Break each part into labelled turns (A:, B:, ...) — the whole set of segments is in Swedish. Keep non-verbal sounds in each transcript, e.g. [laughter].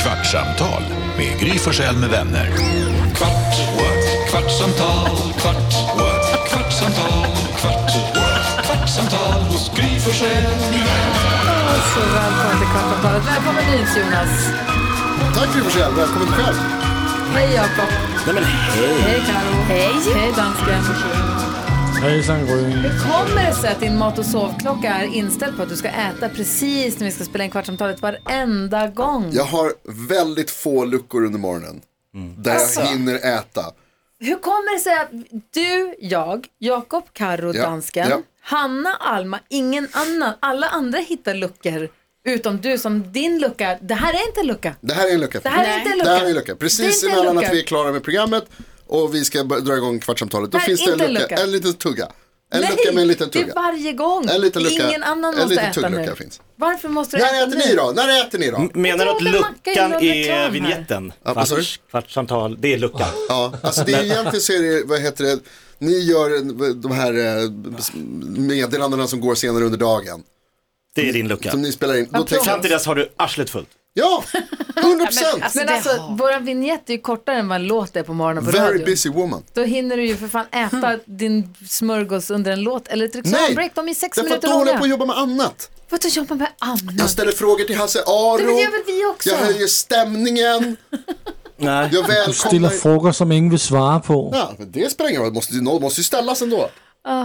A: Kvartsamtal med Gry Forssell med vänner. Kvart, what? kvartsamtal, kvart, what? kvartsamtal, kvart, what? kvartsamtal hos Gry Forssell med vänner.
B: Så välkommen till Kvartsamtalet. Välkommen hit Jonas.
C: Tack Gry Forssell, välkommen själv.
B: Hej Jakob. Hej Karo. Hej. Hej dansken.
D: Hejsan Gry.
B: Hur kommer det sig att din mat och sovklocka är inställd på att du ska äta precis när vi ska spela in Kvartsamtalet varenda gång?
C: Jag har väldigt få luckor under morgonen där
B: Alltså.
C: jag hinner äta.
B: Hur kommer det sig att du, jag, Jakob, Karo,
C: Ja,
B: dansken,
C: ja.
B: Hanna, Alma, ingen annan, alla andra hittar luckor utom du som din lucka, det här är inte en lucka.
C: Det här är en lucka.
B: Det här är inte en lucka.
C: Det här är en lucka.
B: Det är
C: Precis
B: inte en
C: emellan
B: lucka.
C: att vi är klara med programmet och vi ska börja dra igång kvartsamtalet. Då
B: Nej,
C: finns det en
B: inte en
C: lucka.
B: lucka.
C: En liten tugga. En lucka med en liten
B: det är
C: tugga.
B: varje gång.
C: En liten lucka.
B: Ingen annan
C: En
B: måste
C: liten
B: äta nu.
C: tugglucka finns.
B: Varför måste du
C: När
B: äta
C: äter
B: nu?
C: ni då? När äter ni då?
B: Jag
E: Menar du att
B: trodde macka
E: luckan
B: gjorde reklam här.
E: är vignetten?
C: Ja, vad sa du?
E: Kvarts- Kvartssamtal, det är luckan.
C: Ja, alltså det är egentligen så är det, vad heter det, ni gör en- de här eh, meddelandena som går senare under dagen.
E: Det är din lucka.
C: Som ni spelar in. Då tänker
E: Fram
C: jag,
E: till dess har du arslet fullt.
C: ja,
B: [laughs]
C: 100 procent.
B: Men alltså, våran vignett är ju kortare än vad en låt är på morgonen på
C: Very
B: radion.
C: busy Hmm. woman.
B: Då hinner du ju för fan äta din smörgås under en låt eller ett reklambreak. De är sex
C: därför att
B: minuter
C: då håller jag på
B: långa.
C: att jobba med annat.
B: Vad du jobbar med Anna.
C: Jag ställer frågor till Hasse
B: Det
C: Aro.
B: gör väl vi också?
C: Jag höjer stämningen.
E: Nej.
C: Jag
D: Ställer
C: välkomnar...
D: frågor som ingen vill svara på.
C: Ja, men det spelar ingen roll, måste, någon måste ju ställas ändå.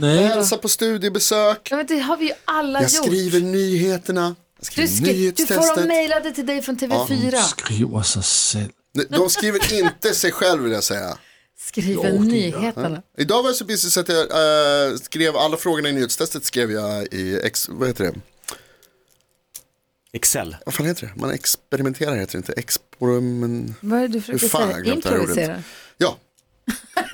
D: Nej,
C: Hälsa på studiebesök.
B: Ja, men det har vi ju alla
C: Jag
B: gjort.
C: skriver nyheterna. Jag
B: du,
C: skriver
B: skri... du får dem
C: nyhetstestet.
B: mejlade till dig från TV4.
D: skriver sig själv.
C: Nej, De skriver inte sig själv vill jag säga.
B: Skriver nyheterna.
C: Idag var jag så busy så att jag eh, skrev alla frågorna i nyhetstestet skrev jag i, ex, vad heter det?
E: Excel.
C: Vad fan heter det? Man experimenterar heter det inte? Experiment...
B: Vad är det du försöker
C: Hur fan har jag
B: säga?
C: glömt det här ordet?
B: Improvisera.
C: Ja.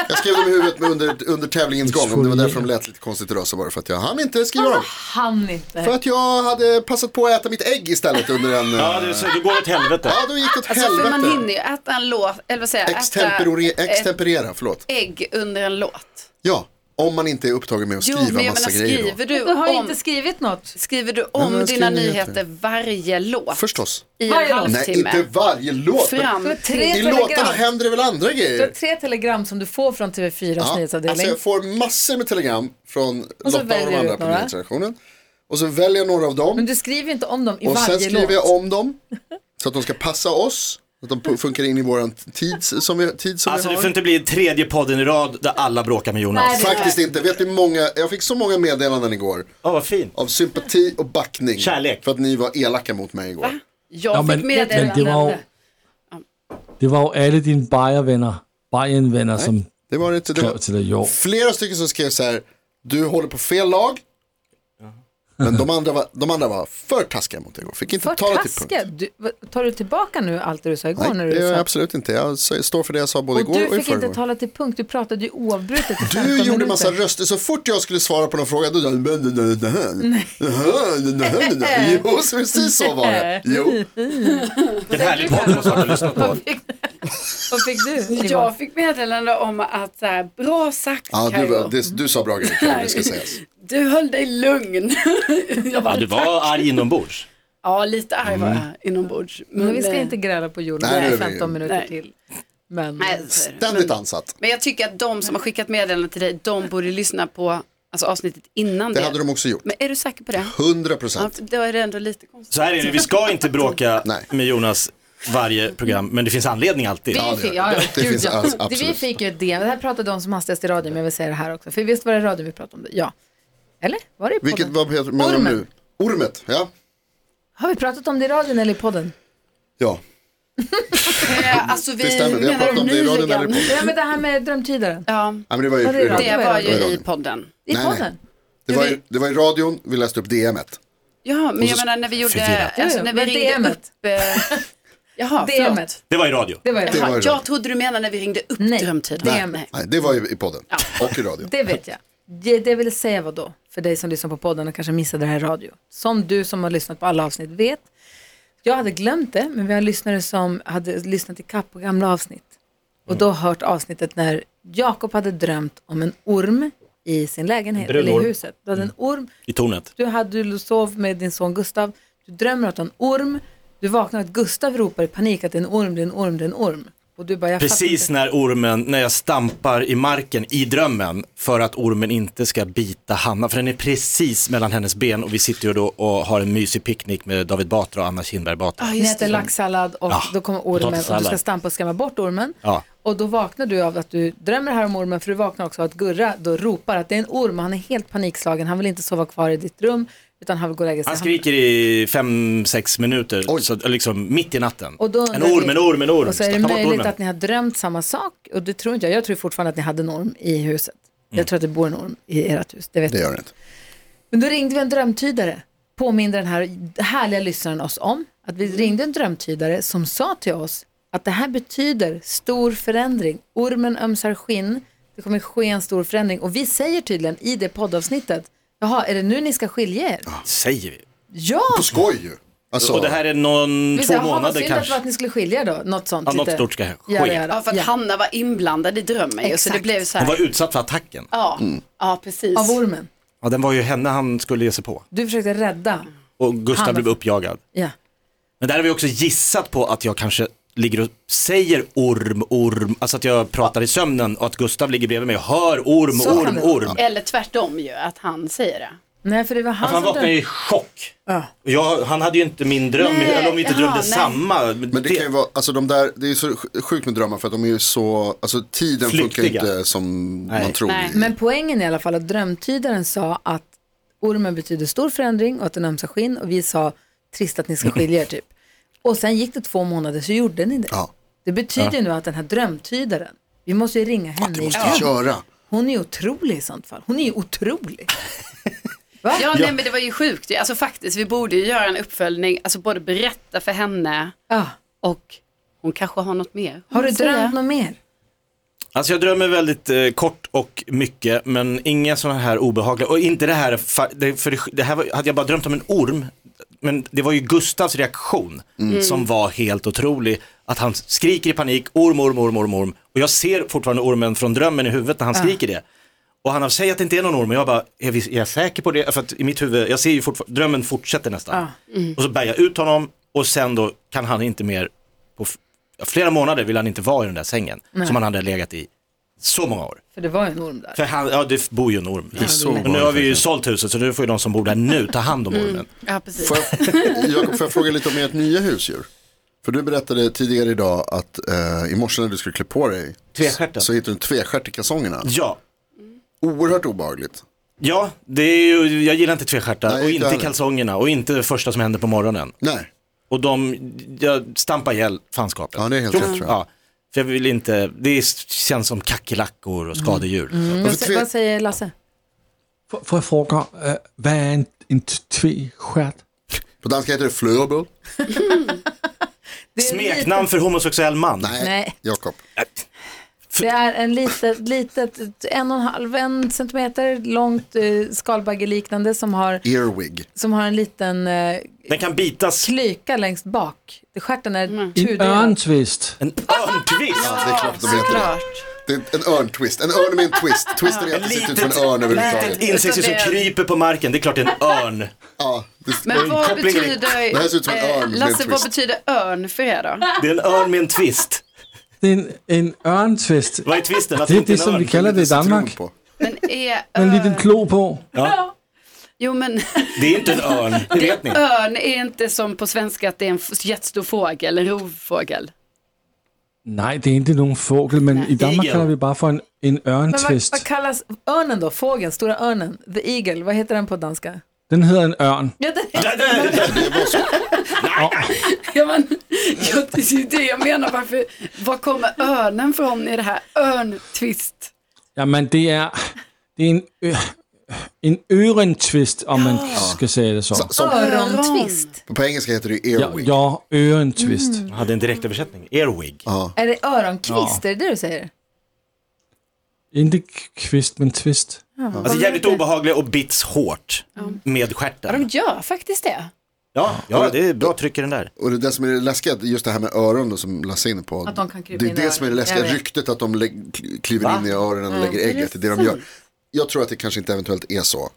C: Jag skrev dem i huvudet med under, under tävlingens gång. Om det var
D: Exfoliera.
C: därför de lät lite konstigt idag så var det för att jag hann inte skriva dem.
B: Han inte.
C: För att jag hade passat på att äta mitt ägg istället under en...
E: Ja, det, så, det går åt helvete.
C: ja då gick det åt
F: Alltså för man hinner
C: helvete.
F: ju äta en låt, eller vad säger jag,
C: Extemporere,
F: äta ett
C: extemperera, förlåt.
F: ägg under en låt.
C: Ja, om man inte är upptagen med att
F: Jo,
C: skriva
F: men jag
C: massa
F: menar
C: grejer
F: skriver
C: då.
F: du,
B: Du har ju
F: om,
B: inte skrivit något.
F: skriver du
C: Nej,
F: om
C: men jag
F: dina
C: skriver
F: nyheter
C: nyheter.
F: varje låt
C: Förstås.
F: i en
B: Varje låt.
C: Nej,
F: halvtimme?
C: inte varje låt. men
F: Alltså, Fram
B: Men tre
C: I
B: telegram.
C: låtarna händer det väl andra
B: Du har
C: grejer?
B: tre telegram som du får från TV4s
C: Eh, Ja, alltså
B: nyhetsavdelning.
C: jag får massor med telegram från
B: så
C: Lotta och
B: väljer
C: de
B: du
C: andra
B: ut
C: på
B: några.
C: nyhetsredaktionen. Och så väljer jag några av dem.
B: Men du skriver inte om dem i
C: Och
B: varje
C: sen skriver
B: låt.
C: jag om dem så att de ska passa oss. Så att de pu- funkar in i våran tid som vi, tid som
E: Alltså
C: vi
E: det
C: har.
E: får inte bli tredje podden i rad där alla bråkar med
B: Nej,
E: Jonas.
B: det-
C: Faktiskt inte. Vet ni hur många, jag fick så många meddelanden igår
E: Ja, vad fint.
C: av sympati och backning.
E: Kärlek.
C: För att ni var elaka mot mig igår.
F: Jag
D: Ja, men,
F: fick
D: men det
F: meddelanden.
D: var ju, det var ju alla dina Bayern-vänner, Bayern-vänner som
C: Det var det inte. Det
D: skrev
C: var
D: till dig. Jo.
C: flera stycken som skrev så här, du håller på fel lag. Men de andra var, de andra var för taskiga mot dig igår. Fick inte
B: För
C: ta det till punkt.
B: taskiga. Du, vad- tar du tillbaka nu allt det du sa igår? när
C: Nej,
B: du
C: det gör jag
B: sa,
C: absolut inte. Jag s- står för det jag sa
B: och
C: både igår
B: du
C: och i
B: fick inte
C: förrgår.
B: tala till punkt, du pratade ju oavbrutet i 15
C: Du
B: minuter.
C: gjorde massa röster, så fort jag skulle svara på någon fråga, då... Jo, så precis så var det. Jo.
E: Vilken härlig podd du har lyssnat på.
B: Vad fick [laughs] du?
F: Jag fick meddelande om att så här, bra sagt
C: Ja, du,
F: Karo.
C: var- det, du sa bra grejer, Karo, det ska sägas.
F: Du höll dig lugn. [laughs] jag
E: Ja,
F: bara,
E: du var arg inombords.
F: ja, lite arg
C: Mm.
F: var jag inombords.
B: Men vi ska
F: eh,
B: inte gräla på jorden
C: Nej,
B: i
C: det är
B: 15
C: vi-
B: minuter
F: Nej.
B: till. Men
F: Nej, så är det.
C: Ständigt ansatt.
F: Men jag tycker att de som har skickat meddelanden till dig, de borde lyssna på alltså, avsnittet innan
C: Det hade de också gjort.
F: Men är du säker på det?
C: 100
F: Ja,
C: procent.
F: för då är det ändå lite konstigt.
E: Så här är det, vi ska inte bråka
C: Nej.
E: med Jonas varje program, men det finns anledning alltid.
B: Vi
C: det
B: fick,
C: gör
B: ja,
C: det.
B: ja,
C: Det
B: gud,
C: finns
B: ja.
C: alls-
B: det, vi
C: absolut.
B: fick ju ett DM, det här pratade de som hastigast i radion, men jag vill säga det här också. För visst var det radion vi pratade om det? Ja. Eller? Var det i podden?
C: Vilket, vad heter, menar de
B: Ormen.
C: nu? Ormet, ja.
B: Har vi pratat om det i radion eller i podden?
C: Ja,
F: Eh, Alltså vi
C: det stämmer. Vi har
F: menar
C: pratat om det i radion eller i
F: nyligen.
C: podden.
B: Ja, men det här med drömtydaren.
F: Ja,
C: Ja, men det var ju
B: Var det
C: i
B: radio?
F: det
C: radion.
F: var ju
C: Det var i
F: i
C: radion.
F: podden.
B: I
C: Nej, nej.
B: podden?
C: Det var, ju- det var i radion, vi läste upp DMet.
F: Ja, men jag menar när vi gjorde,
E: Förvirrat.
F: alltså när vi
B: Men
F: ringde
B: DMet.
F: upp.
B: [laughs]
F: Eh, jaha, förlåt.
B: DMet.
E: Det var i radio.
B: Det var det.
C: var ju
F: Jaha,
C: radion.
F: jag trodde du menade när vi ringde upp
B: Nej,
F: drömtiden.
B: Nej.
F: Nej.
C: Nej, det var ju i podden och i radion.
B: Det vet jag. Det, det jag ville säga var då, för dig som lyssnar på podden och kanske missade det här i radio. Som du som har lyssnat på alla avsnitt vet. Jag hade glömt det, men vi har lyssnare som hade lyssnat i kapp på gamla avsnitt. Och då hört avsnittet när Jakob hade drömt om en orm i sin lägenhet, eller
E: Bröllorm.
B: i huset. Du hade en orm
E: I tornet.
B: du, hade, du sov med din son Gustav, du drömmer att du har en orm Du vaknar att Gustav ropar i panik att det är en orm, det är en orm, det är en orm. Och du bara, jag
E: Precis
B: fattar inte.
E: när ormen, när jag stampar i marken i drömmen för att ormen inte ska bita Hanna, för den är precis mellan hennes ben och vi sitter ju då och har en mysig picknick med David Batra och Anna Kinberg Batra.
B: Ni äter laxsallad och
E: Ja,
B: då kommer ormen och du ska
E: potatissallad.
B: stampa och skrämma bort ormen.
E: Ja.
B: Och då vaknar du av att du drömmer här om ormen, för du vaknar också av att Gurra då ropar att det är en orm och han är helt panikslagen. Han vill inte sova kvar i ditt rum utan han vill gå och lägga sig.
E: Han skriker i fem, sex minuter, så, liksom mitt i natten.
B: Och då
E: en
B: undrar
E: orm,
B: vi-
E: en orm, en orm.
B: Och så är det
E: Ta bort
B: möjligt
E: ormen.
B: att ni har drömt samma sak och det tror inte jag. Jag tror fortfarande att ni hade en orm i huset.
E: Mm.
B: Jag tror att det bor en orm i ert hus, det vet
C: Det
B: jag.
C: gör det inte.
B: Men då ringde vi en drömtydare, påminde den här härliga lyssnaren oss om. Att vi ringde en drömtydare som sa till oss att det här betyder stor förändring. Ormen ömsar skinn, det kommer ske en stor förändring. Och vi säger tydligen i det poddavsnittet, jaha, är det nu ni ska skilja er?
E: Säger vi.
B: Ja!
C: På skoj ju. Alltså,
E: Och det här är någon,
B: Vi
E: två
B: säger, jaha, vad
E: månader
B: synd att det var att
E: kanske.
B: ni skulle skilja er då, något sånt.
E: Ja, något
B: lite.
E: stort ska ske.
B: Ja, ja, ja.
F: Ja, för att
B: Ja.
F: Hanna var inblandad i drömmen ju, så det
B: Exakt.
F: blev så
E: Hon
F: här.
E: var Mm. utsatt för attacken.
F: Ja, ja, precis.
B: Av ormen.
E: Ja, den var ju henne han skulle ge sig på.
B: Du försökte rädda.
E: Och Gustav
B: Han-
E: blev uppjagad.
B: Ja.
E: Men där har vi också gissat på att jag kanske ligger och säger orm, orm, alltså att jag pratar i sömnen och att Gustav ligger bredvid mig och hör orm,
B: Så kan
E: orm,
B: det vara.
E: orm.
F: Eller tvärtom ju, att han säger det.
B: Nej, för det var han
E: Alltså han
B: som
E: vaknar
B: drömde.
E: i chock.
B: Ja.
E: Och Jag, han hade ju inte min dröm,
F: Nej,
E: eller om vi inte
F: jaha,
E: drömde
F: nej.
E: samma.
C: Men det kan ju vara, alltså de där, det är ju så sj- sjukt med drömmar för att de är ju så, alltså tiden funkar ju
E: Flyktiga.
C: inte som man
E: Nej.
C: tror.
F: Nej.
B: Men poängen i alla fall att drömtydaren sa att ormen betyder stor förändring och att den ömsar skinn och vi sa trist att ni ska skilja er typ. Och sen gick det två månader så gjorde ni det.
C: Ja.
B: Det betyder ju nu att den här drömtydaren, vi måste ju ringa henne
C: Det måste
B: igen.
C: vi köra.
B: Hon är ju otrolig i sånt fall. Hon är ju otrolig. Va?
F: Ja, nej men det var ju sjukt ju. Alltså faktiskt, vi borde ju göra en uppföljning, alltså både berätta för henne
B: Ja.
F: och hon kanske har något mer.
B: Har du
F: Hon säger.
B: drömt något mer?
E: Alltså jag drömmer väldigt eh, kort och mycket, men inga sådana här obehagliga. Och inte det här, fa- det, för det, det här var, hade jag bara drömt om en orm, men det var ju Gustavs reaktion som var helt otrolig. Att han skriker i panik, orm, orm, orm, orm, orm. Och jag ser fortfarande ormen från drömmen i huvudet när han skriker det. Och han säger att det inte är någon orm och jag bara, är, vi, är jag säker på det? För att i mitt huvud, jag ser ju fortfarande, drömmen fortsätter nästan. Och så bär jag ut honom och sen då kan han inte mer, på f- flera månader vill han inte vara i den där sängen som han hade legat i så många år.
B: För det var ju en orm där.
E: För han, ja det bor ju en orm.
C: är så
E: och nu har vi ju sålt huset så nu får ju de som bor där nu ta hand
B: Mm.
E: om ormen.
F: Ja, precis.
C: Får
B: [laughs]
C: jag, Jakob, får jag fråga lite om ert nya husdjur? För du berättade tidigare idag att eh, i morse när du skulle klä på dig
E: Tvestjärten.
C: så hittade du en tvestjärt i kalsongerna.
E: Ja,
C: Oerhört obehagligt.
E: ja det är ju, jag gillar inte tvestjärtar
C: Nej,
E: och
C: inte
E: inte
C: heller.
E: kalsongerna och inte det första som händer på morgonen.
C: Nej,
E: Och de, jag stampar ihjäl fanskapet.
C: Ja, det är helt
E: Jo,
C: rätt, tror jag.
E: Ja, för jag vill inte, det är, känns som kackerlackor
B: Mm.
E: och skadedjur.
B: Vad,
C: Varför
B: sä- vad
C: tve-
B: säger Lasse?
D: Får- Får jag fråga, eh, vad är en, en tvestjärt?
C: på danska heter det flöbel.
B: Det är en
E: Smeknamn för homosexuell man.
C: Nej,
B: Nej.
C: Jakob.
B: Det är en litet, litet en och en halv en centimeter långt eh, skalbaggeliknande som har,
C: Earwig.
B: som har en liten eh,
E: Den kan bitas.
B: klyka längst bak. Det- Stjärten är
D: En
B: tudelad.
D: örntvist.
E: En örntvist.
C: Det är klart de heter det.
F: Klart.
C: det är en örntwist. En örn med en twist. Twisten är att det ser ut som en örn överhuvudtaget.
E: litet insekter som
F: Utan det-
E: kryper på marken. Det är klart det är en örn.
C: Ja, det,
F: Men vad
E: Kopplingen är-
F: betyder,
C: Det här ser ut som en örn
F: eh,
C: med en
F: Lasse, vad
C: twist.
F: betyder örn för er då?
E: Det är en örn med en twist.
D: Det är en, en örntvist.
E: Vad är twisten? Att
D: Det är
E: inte
D: det
E: en
D: som
E: örn.
D: vi kallar det i Danmark.
C: På.
F: Men är
D: Med en liten
F: örn,
D: klo på.
E: Ja.
F: jo men [laughs]
E: Det är inte en örn, [laughs] det vet ni.
F: örn är inte som på svenska att det är en f- jättestor fågel, en rovfågel.
D: Nej, det är inte någon fågel, men i Danmark
E: Igel.
D: kallar vi bara för en, en
B: Men vad,
D: örntvist.
B: vad kallas örnen då? Fågeln, stora örnen, the eagle, vad heter den på danska?
D: Den hedder en örn.
B: Ja, det,
E: Nej, nej, nej.
F: Ja, men, [laughs] ja, det är ju det jag menar, varför, var kommer örnen från i det här örntvist?
D: Jamen, det är, det är en, ø, en ørentvist, om man ska säga det så.
C: Så-
B: Alltså,
C: Som,
B: örontvist.
C: på engelska heter det
D: Ja,
C: earwig.
D: ja ørentvist.
E: Jag hade en direktöversättning. Airwig.
B: Är det öronkvist? Är det det du säger?
D: Inte k- kvist, men twist.
E: Alltså jävligt obehagliga och bits hårt med stjärten.
F: gör faktiskt det.
E: Ja, ja, det är bra tryck i den där.
C: Och det, det som är det läskiga, just det här med öron då, som Lasse är inne på.
B: Att de kan krypa
C: det är
B: in i
C: det som är
B: öronen.
C: det läskiga,
B: Jag vet.
C: ryktet att de lä- kl- kliver in i öronen och lägger ägget. Det är det de
F: sant?
C: gör. Jag tror att det kanske inte eventuellt är så.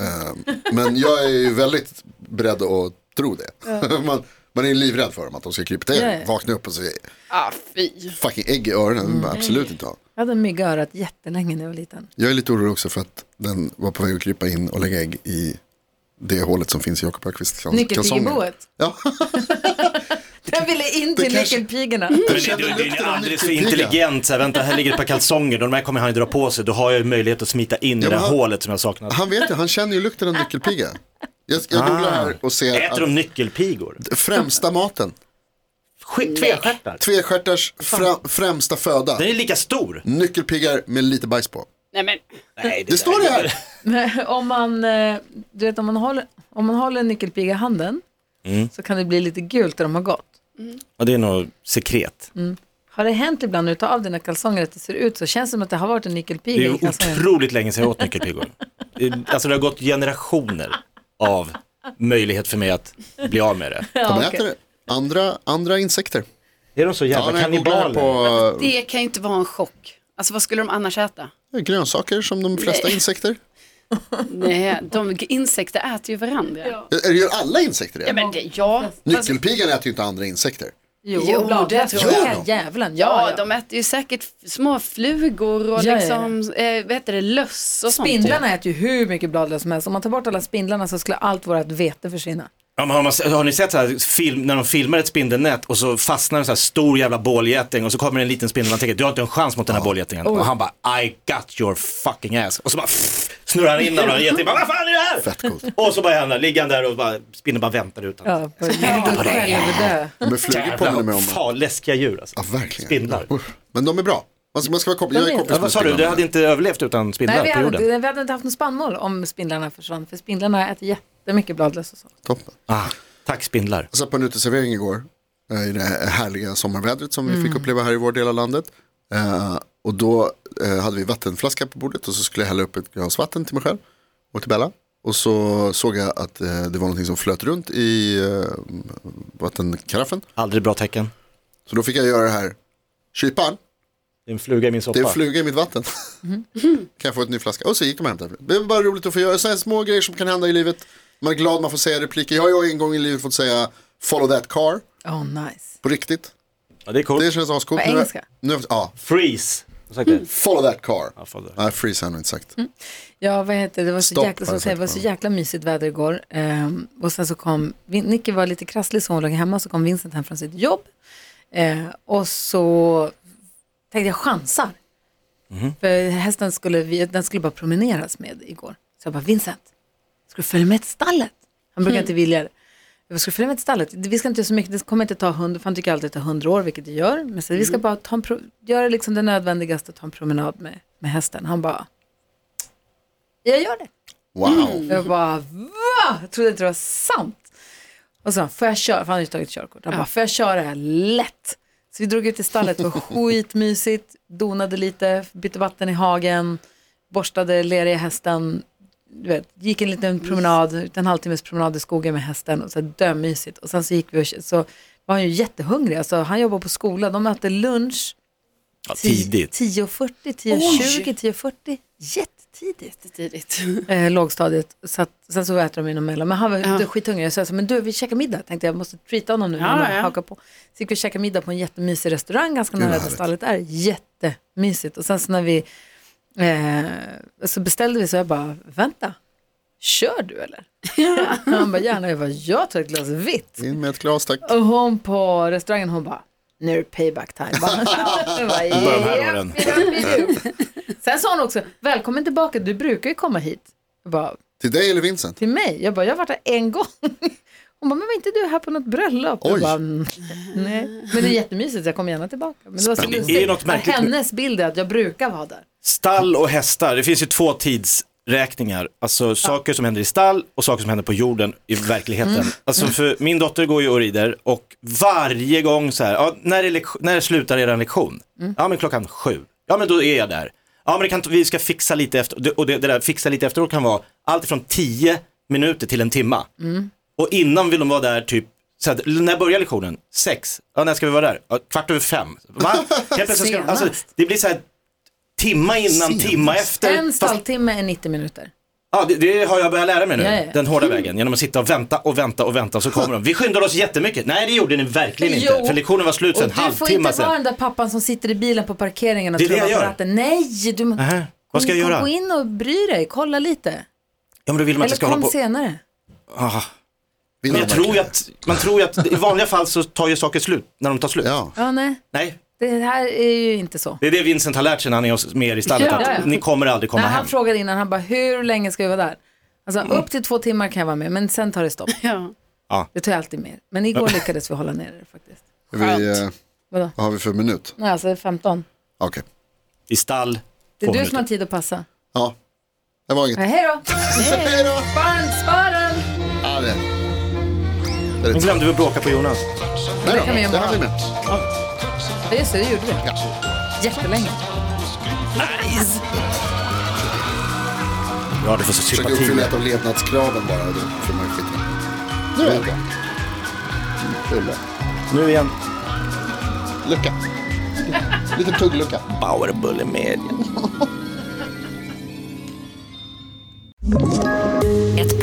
C: Ehm, men jag är ju väldigt beredd att tro det. [laughs] man, Man är livrädd för dem, att de ska krypa till.
B: Ja, ja.
C: Vakna upp och säga
F: Ah, fy.
C: fucking ägg i öronen.
B: Mm.
C: vill man Absolut inte ha.
B: Jag hade en mygga i örat jättelänge när jag var liten.
C: Jag är lite orolig också för att den var på väg att krypa in och lägga ägg i det hålet som finns i Jakob Öqvists kalsonger.
B: Nyckelpigeboet.
C: Ja,
B: [laughs] Den ville in till
C: Det kanske-
B: nyckelpigorna.
E: Men det, det, det är alldeles för intelligent. Så här, vänta, här ligger ett par kalsonger. De här kommer han ju dra på sig. Då har jag ju möjlighet att smita in i
C: Ja,
E: det
C: men
E: här
C: han-
E: hålet som jag saknar.
C: han vet ju, han känner ju lukten av nyckelpiga. Jag, jag googlar här och ser
E: Ah. Äter
C: att
E: de nyckelpigor?
C: främsta maten,
E: Sk- Tvestjärtar?
C: tvestjärtars fra- främsta föda,
E: Den är lika stor.
C: nyckelpiggar med lite bajs på.
F: Nej men,
E: Nej,
C: Det står det här!
B: Men om man, eh, du vet, om man, håller, om man håller en nyckelpiga i handen
E: Mm.
B: så kan det bli lite gult där de har gått.
E: Och det är nog sekret.
B: Har det hänt ibland när du tar av dina kalsonger att det ser ut så? Känns det som att det har varit en nyckelpiga
E: Det är
B: i
E: ju
B: kalsongen?
E: otroligt länge sedan jag åt nyckelpigor. Eh, Alltså det har gått generationer av möjlighet för mig att bli av med det.
C: De
B: Ja, okej.
C: äter andra, andra insekter.
E: Är de så
C: Ja,
E: jävla
C: när jag googlar
E: kannibaler? På...
C: på
F: det kan ju inte vara en chock. Alltså vad skulle de annars äta?
C: eh, grönsaker som de flesta insekter.
F: Nej, de, insekter äter ju varandra. Ja,
C: Eh, Gör alla insekter det?
F: men det, ja.
C: Nyckelpigan äter ju inte andra insekter.
B: Jo,
F: Jo,
B: ibland.
F: det tror
C: jag.
B: Ja, Djävulen, ja.
F: Ja,
B: ja.
F: de äter ju säkert f- små flugor
B: Ja,
F: och
B: ja,
F: liksom, Eh, vad heter det, löss och sånt.
B: Spindlarna äter ju hur mycket bladlöss som helst. Om man tar bort alla spindlarna så skulle allt vårt vete försvinna.
E: Ja, men har, man, har ni sett så här, film, när de filmar ett spindelnät och så fastnar en så här stor jävla bålgeting och så kommer en liten spindel och man tänker du har inte en chans mot den här bålgetingen. Och han bara I got your fucking ass. Och så bara pff, snurrar han in den och getingen bara vad fan är det här?
C: Fett coolt.
E: Och så bara han där, ligger han där och bara, spindeln bara väntar utan.
B: Ja, på, på självdö.
C: Men flugor påminner mig om...
E: Fan, läskiga djur alltså.
C: Ja, verkligen.
E: Spindlar.
C: Usch. Men de är bra. Man ska, man ska vara kompis. Jag
B: De
C: är
B: är-
C: kompis
E: Ja,
C: med
E: vad sa du, du
C: spindlarna.
E: hade inte överlevt utan spindlar
B: Nej, vi
E: på
B: hade,
E: jorden?
B: inte, vi hade inte haft någon spannmål om spindlarna försvann. För spindlarna äter jättemycket bladlöss och sånt.
C: Toppen.
E: Ah, tack spindlar.
C: Jag satt på en uteservering igår eh, i det här härliga sommarvädret som vi fick uppleva här i vår del av landet. Eh, och då eh, hade vi vattenflaska på bordet och så skulle jag hälla upp ett glas vatten till mig själv och till Bella. Och så såg jag att eh, det var någonting som flöt runt i eh, vattenkaraffen.
E: Aldrig bra tecken.
C: Så då fick jag göra det här. Kyparen,
E: Det är en fluga i min soppa.
C: det är en fluga i mitt vatten.
B: Mm-hmm.
C: kan jag få ett ny flaska? Och så gick de och hämtade. Det är bara roligt att få göra sådana här små grejer som kan hända i livet. Man är glad man får säga repliker. Jag har ju en gång i livet fått säga follow that car
B: Oh, nice.
C: på riktigt.
E: ja, det är coolt.
C: Det känns ascoolt.
B: På
C: Nu-
B: engelska?
C: Nu, ja,
E: Freeze. Vad sa jag?
C: follow that car.
E: Ja, fan, det-
C: Nej, freeze har jag nog inte sagt.
B: Mm. Ja, vad heter det? Det var så,
C: Stopp,
B: jäkla,
C: har
B: så,
C: jag
B: det var
C: sagt
B: så
C: på.
B: jäkla mysigt väder igår. Ehm, och sen så kom, Vin- Nicky var lite krasslig så hon låg hemma, så kom Vincent hem från sitt jobb. Eh, och så tänkte jag chansar.
C: Mhm.
B: För hästen skulle, vi, den skulle bara promeneras med igår. Så jag bara, Vincent, ska du följa med till stallet? Han brukar
C: Mm.
B: inte vilja det. Jag bara, ska du följa med till stallet? Vi ska inte göra så mycket, det kommer inte ta hundra, för han tycker alltid att det tar hundra år, vilket det gör. Men så,
C: Mm.
B: vi ska bara ta en pro, göra liksom det nödvändigaste, ta en promenad med, med hästen. Han bara, jag gör det.
C: Wow.
B: Jag bara, va? Jag trodde inte det var sant. Och så sa han, får jag köra? För han hade ju tagit körkort. Han bara, får jag köra det här lätt? Så vi drog ut i stallet, det
E: [laughs]
B: var skitmysigt, donade lite, bytte vatten i hagen, borstade leriga hästen, du vet, gick en liten promenad, en halvtimmes promenad i skogen med hästen och så här dömysigt. Och sen så gick vi och så var han ju jättehungrig, alltså han jobbar på skola, de äter lunch
E: Ja,
B: ti-
E: tidigt.
B: 10.40, 10.20, 10.40, jättetidigt
F: Tidigt.
B: eh, lågstadiet. Så att, sen så äter de inom mellan. Men han var
F: Ja.
B: ja. skithungrig. Så jag sa, men du vi käkar middag. Tänkte jag måste treata honom nu.
F: Ja,
B: när han
F: ja.
B: hakar på. Så gick vi och käkade middag på en jättemysig restaurang ganska nära där
C: härligt.
B: stallet är. Jättemysigt. Och sen så när vi, eh, så beställde vi så jag bara, vänta, kör du eller? [laughs]
F: [laughs]
B: han bara, gärna. Jag bara, jag tar ett glas vitt.
C: In med ett glas tack.
B: Och hon på restaurangen, hon bara, nu är det payback time. [laughs] Jag bara, jag bara,
E: de här
B: "Japp,
E: åren."
B: japp, japp. Sen sa hon också, välkommen tillbaka, du brukar ju komma hit. Jag bara,
C: Till dig eller Vincent?
B: till mig. Jag bara, jag har varit här en gång. Hon bara, men var inte du här på något bröllop? Jag
C: Oj.
B: bara, "Mm, nej. Men det är jättemysigt, jag kommer gärna tillbaka. Men det var så
C: Spännande.
B: lustigt.
E: Är det något
B: Och
E: märkligt med-
B: Hennes bild är att jag brukar vara där.
E: Stall och hästar, det finns ju två tidsräkningar. Alltså saker som händer i stall och saker som händer på jorden i verkligheten. Alltså för min dotter går ju och rider och varje gång så här, ja, när, är lek- när slutar er lektion? Ja men klockan sju. Ja men då är jag där. Ja men det kan, vi ska fixa lite efter, och det- och det, det där fixa lite efteråt kan vara allt från tio minuter till en timma. Och innan vill de vara där typ, så här, när börjar lektionen? Sex. Ja när ska vi vara där? Ja, kvart över fem. Va? Helt plötsligt ska, alltså,
B: Senast.
E: det blir så här timma innan, timma efter.
B: En
E: Fast,
B: stalltimme är 90 minuter.
E: Ja, det, det har jag börjat lära mig nu,
B: Ja, ja.
E: den hårda vägen. Genom att sitta och vänta och vänta och vänta och så kommer de. Vi skyndade oss jättemycket. Nej, det gjorde ni verkligen inte.
B: Jo.
E: För lektionen var slut för en
B: Och du får inte
E: halvtimme
B: vara
E: sedan.
B: den där pappan som sitter i bilen på parkeringen och
E: Det är det
B: trummar
E: jag
B: på
E: gör.
B: ratten. Nej, du må-
E: Nähä, vad ska jag
B: Kom-
E: göra?
B: Gå in och bry dig, kolla lite.
E: Ja, men då vill man att
B: Eller
E: jag ska hålla
B: kom
E: på.
B: senare.
E: Ah,
C: Vill
E: Men jag
C: man
E: tror ju
C: verkligen?
E: att, man tror ju att i vanliga fall så tar ju saker slut när de tar slut.
C: Ja.
B: Ja, nej,
E: Nej,
B: det här är ju inte så.
E: det är det Vincent har lärt sig när han är hos- med er i stallet.
F: Ja.
B: Ja, ja.
E: Att ni kommer aldrig komma
B: Nej,
E: hem. Mm.
B: han frågade innan, han bara hur länge ska vi vara där? Alltså upp till två timmar kan jag vara med, men sen tar det stopp.
F: [laughs] Ja.
B: Det tar jag alltid med. Men igår lyckades vi hålla ner det faktiskt.
C: Är Vi, eh,
B: Vadå?
C: vad har vi för minut?
B: Nej, alltså 15.
C: Okej.
E: I stall.
B: Det är
E: Två
B: du som
E: minuter.
B: har tid att passa.
C: Ja, det
B: Ja,
C: var inget.
B: hej då!
C: Hej då!
B: Bandsparen!
C: Ja, det.
E: Nu glömde vi bråka på Jonas.
C: Nej
B: kan vi
C: då,
B: göra
C: det hann vi med.
B: Ja, just det, det gjorde vi. Jättelänge.
E: Ja, du får så
C: Försöker
E: sympati.
C: uppfylla ett av levnadskraven bara. och Då får man ju skiten. Nu är det bra. Mm, det är bra.
E: Nu igen.
C: Lucka. Liten tugglucka.
E: Powerbulle Media.
G: Ett